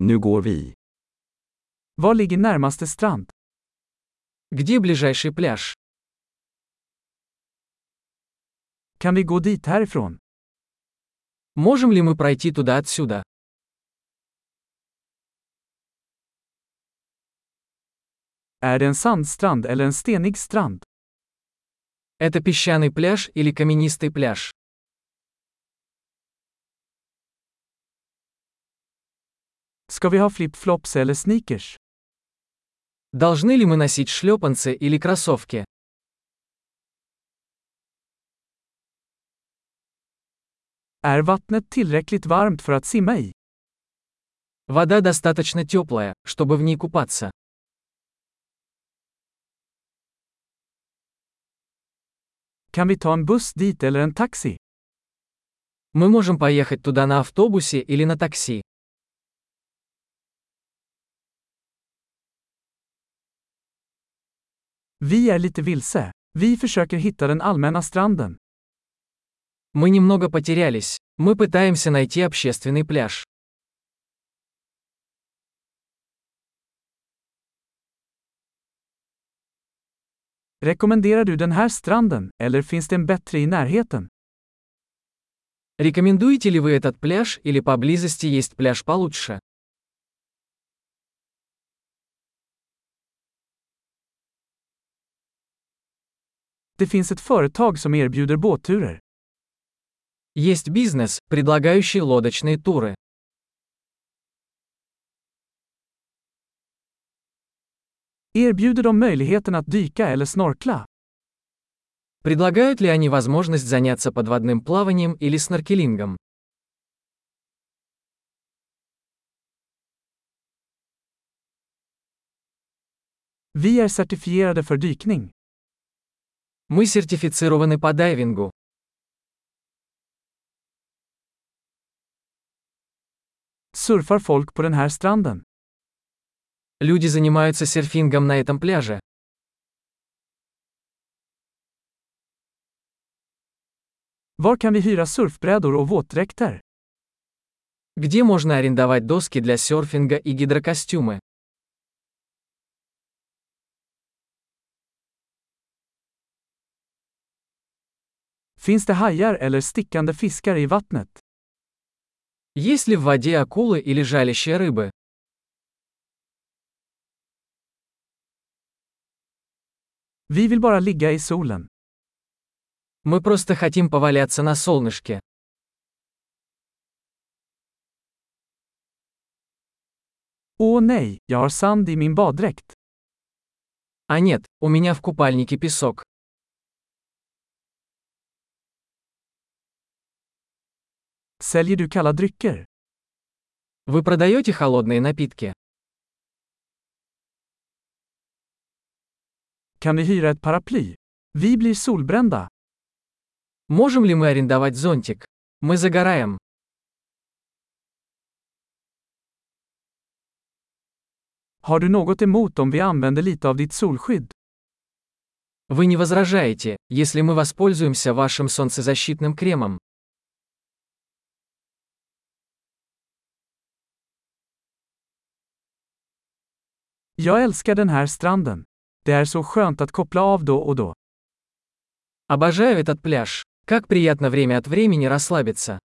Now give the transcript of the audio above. Nu går vi. Var ligger närmaste strand? Где ближайший пляж? Kan vi gå dit härifrån? Можем ли мы пройти туда отсюда? Är det en sandstrand eller en stenig strand? Это песчаный пляж или каменистый пляж? Ska vi ha flip-flops eller sneakers? Должны ли мы носить шлепанцы или кроссовки? Är vattnet tillräckligt varmt för att simma i? Вода достаточно теплая, чтобы в ней купаться. Kan vi ta en buss dit eller en taxi? Мы можем поехать туда на автобусе или на такси. Vi är lite vilse. Vi försöker hitta den allmänna stranden. Мы немного потерялись. Мы пытаемся найти общественный пляж. Rekommenderar du den här stranden, eller finns det en bättre i närheten? Рекомендуете ли вы этот пляж или поблизости есть пляж получше? Det finns ett företag som erbjuder båtturer. Есть бизнес, предлагающий лодочные туры. Erbjuder de möjligheten att dyka eller snorkla? Предлагают ли они возможность заняться подводным плаванием или сноркелингом? Vi är certifierade för dykning. Мы сертифицированы по дайвингу. Surfar folk på den här stranden? Люди занимаются серфингом на этом пляже. Var kan vi hyra surfbrädor och våtdräkter? Где можно арендовать доски для серфинга и гидрокостюмы? Finns det hajar eller stickande fiskar i vattnet? Есть ли в воде акулы или жалящие рыбы? Vi vill bara ligga i solen. Мы просто хотим поваляться на солнышке. Åh nej, jag har sand i min baddräkt. А нет, у меня в купальнике песок. Säljer du kalla drycker? Вы продаете холодные напитки? Kan vi hyra ett paraply? Vi blir solbrända. Можем ли мы арендовать зонтик? Мы загораем. Har du något emot om vi använder lite av ditt solskydd? Вы не возражаете, если мы воспользуемся вашим солнцезащитным кремом. Jag älskar den här stranden. Det är så skönt att koppla av då och då. Обожаю этот пляж. Как приятно время от времени расслабиться.